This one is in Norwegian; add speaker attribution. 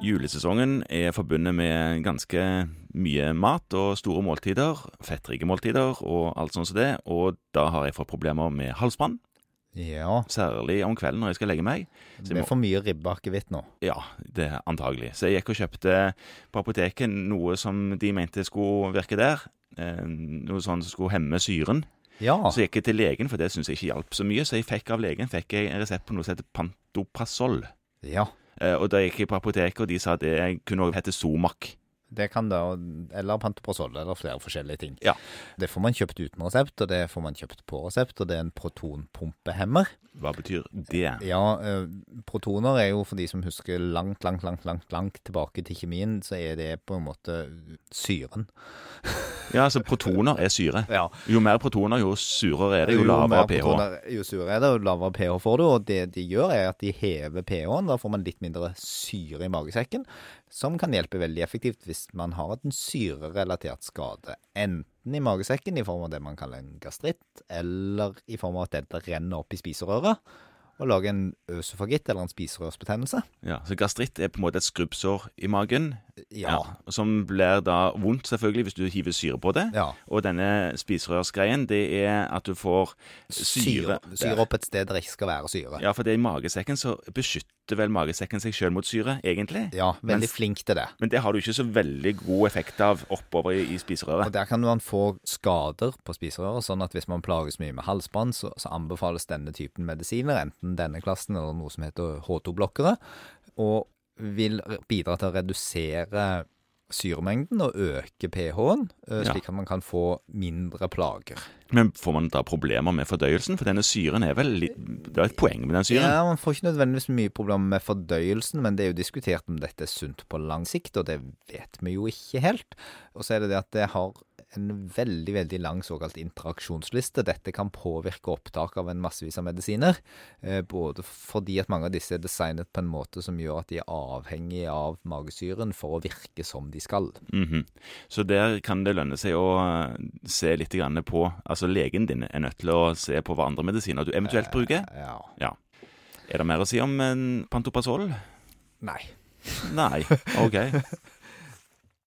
Speaker 1: Julesesongen er forbundet med ganske mye mat og store måltider, fettrike måltider og alt sånt som det, og da har jeg fått problemer med halsbrann,
Speaker 2: Ja.
Speaker 1: særlig om kvelden når jeg skal legge meg. Så
Speaker 2: Det
Speaker 1: jeg
Speaker 2: blir
Speaker 1: må,
Speaker 2: for mye ribbeakevitt nå.
Speaker 1: ja, det er antagelig. Så jeg gikk og kjøpte på apoteket noe som de mente skulle virke der, eh, noe sånn som skulle hemme syren.
Speaker 2: Ja.
Speaker 1: Så jeg gikk jeg til legen, for det syntes jeg ikke hjalp så mye, så jeg fikk av legen fikk jeg en resept på noe som heter Pantoprazol.
Speaker 2: ja.
Speaker 1: Eh, Og da gikk jeg på apoteket, og de sa at det kunne også hete Somac.
Speaker 2: Det kan da, eller pantoprazol, eller flere forskjellige ting.
Speaker 1: Ja.
Speaker 2: Det får man kjøpt uten resept, og det får man kjøpt på resept, og det er en protonpumpehemmer.
Speaker 1: Hva betyr det?
Speaker 2: Ja, eh, protoner er jo for de som husker langt, langt, langt, langt, langt tilbake til kjemien, så er det på en måte syren.
Speaker 1: Ja, altså protoner er syre.
Speaker 2: Ja,
Speaker 1: Jo mer protoner, jo surere er det, jo lavere
Speaker 2: mer
Speaker 1: pH.
Speaker 2: protoner, Jo surere er det, jo lavere pH får du, og det de gjør er at de hever pH-en, da får man litt mindre syre i magesekken, som kan hjelpe veldig effektivt hvis man har en syrerelatert skade, enten i magesekken i form av det man kaller en gastritt, eller i form av at dette renner opp i spiserøret, og lager en øsofagitt eller en spiserørsbetennelse.
Speaker 1: Ja, så gastritt er på en måte et skrubbsår i magen,
Speaker 2: Ja,
Speaker 1: ja, som blir da vondt selvfølgelig hvis du hiver syre på det.
Speaker 2: ja.
Speaker 1: Og denne spiserørsgreien, det er at du får syre.
Speaker 2: Syre, syre opp et sted der det ikke skal være syre.
Speaker 1: Ja, for det er i magesekken, så beskytter vel magesekken seg sjøl mot syre, egentlig.
Speaker 2: Ja, veldig
Speaker 1: Mens-
Speaker 2: flink til det.
Speaker 1: Men det har du ikke så veldig god effekt av oppover i, i spiserøret.
Speaker 2: Og der kan man få skader på spiserøret, sånn at hvis man plages mye med halsbrann, så, så anbefales denne typen medisiner, enten denne klassen eller noe som heter H2-blokkere, og vil r- bidra til å redusere syremengden og øke pH-en, eh,
Speaker 1: Ja.
Speaker 2: slik at man kan få mindre plager.
Speaker 1: Men får man da problemer med fordøyelsen? For denne syren er vel litt Det er et poeng med den syren.
Speaker 2: Ja, Man får ikke nødvendigvis mye problemer med fordøyelsen, men det er jo diskutert om dette er sunt på lang sikt, og det vet vi jo ikke helt. Og så er det det at det har en veldig veldig lang såkalt interaksjonsliste. Dette kan påvirke opptak av en massevis av medisiner, eh, både fordi at mange av disse er designet på en måte som gjør at de er avhengige av magesyren for å virke som de skal.
Speaker 1: Mhm. Så der kan det lønne seg å eh, se litt grann på Altså legen din er nødt til å se på hva andre medisiner du
Speaker 2: Eh,
Speaker 1: eventuelt bruker.
Speaker 2: Ja.
Speaker 1: eh, Er det mer å si om en pantoprazol?
Speaker 2: Nei.
Speaker 1: Nei. OK.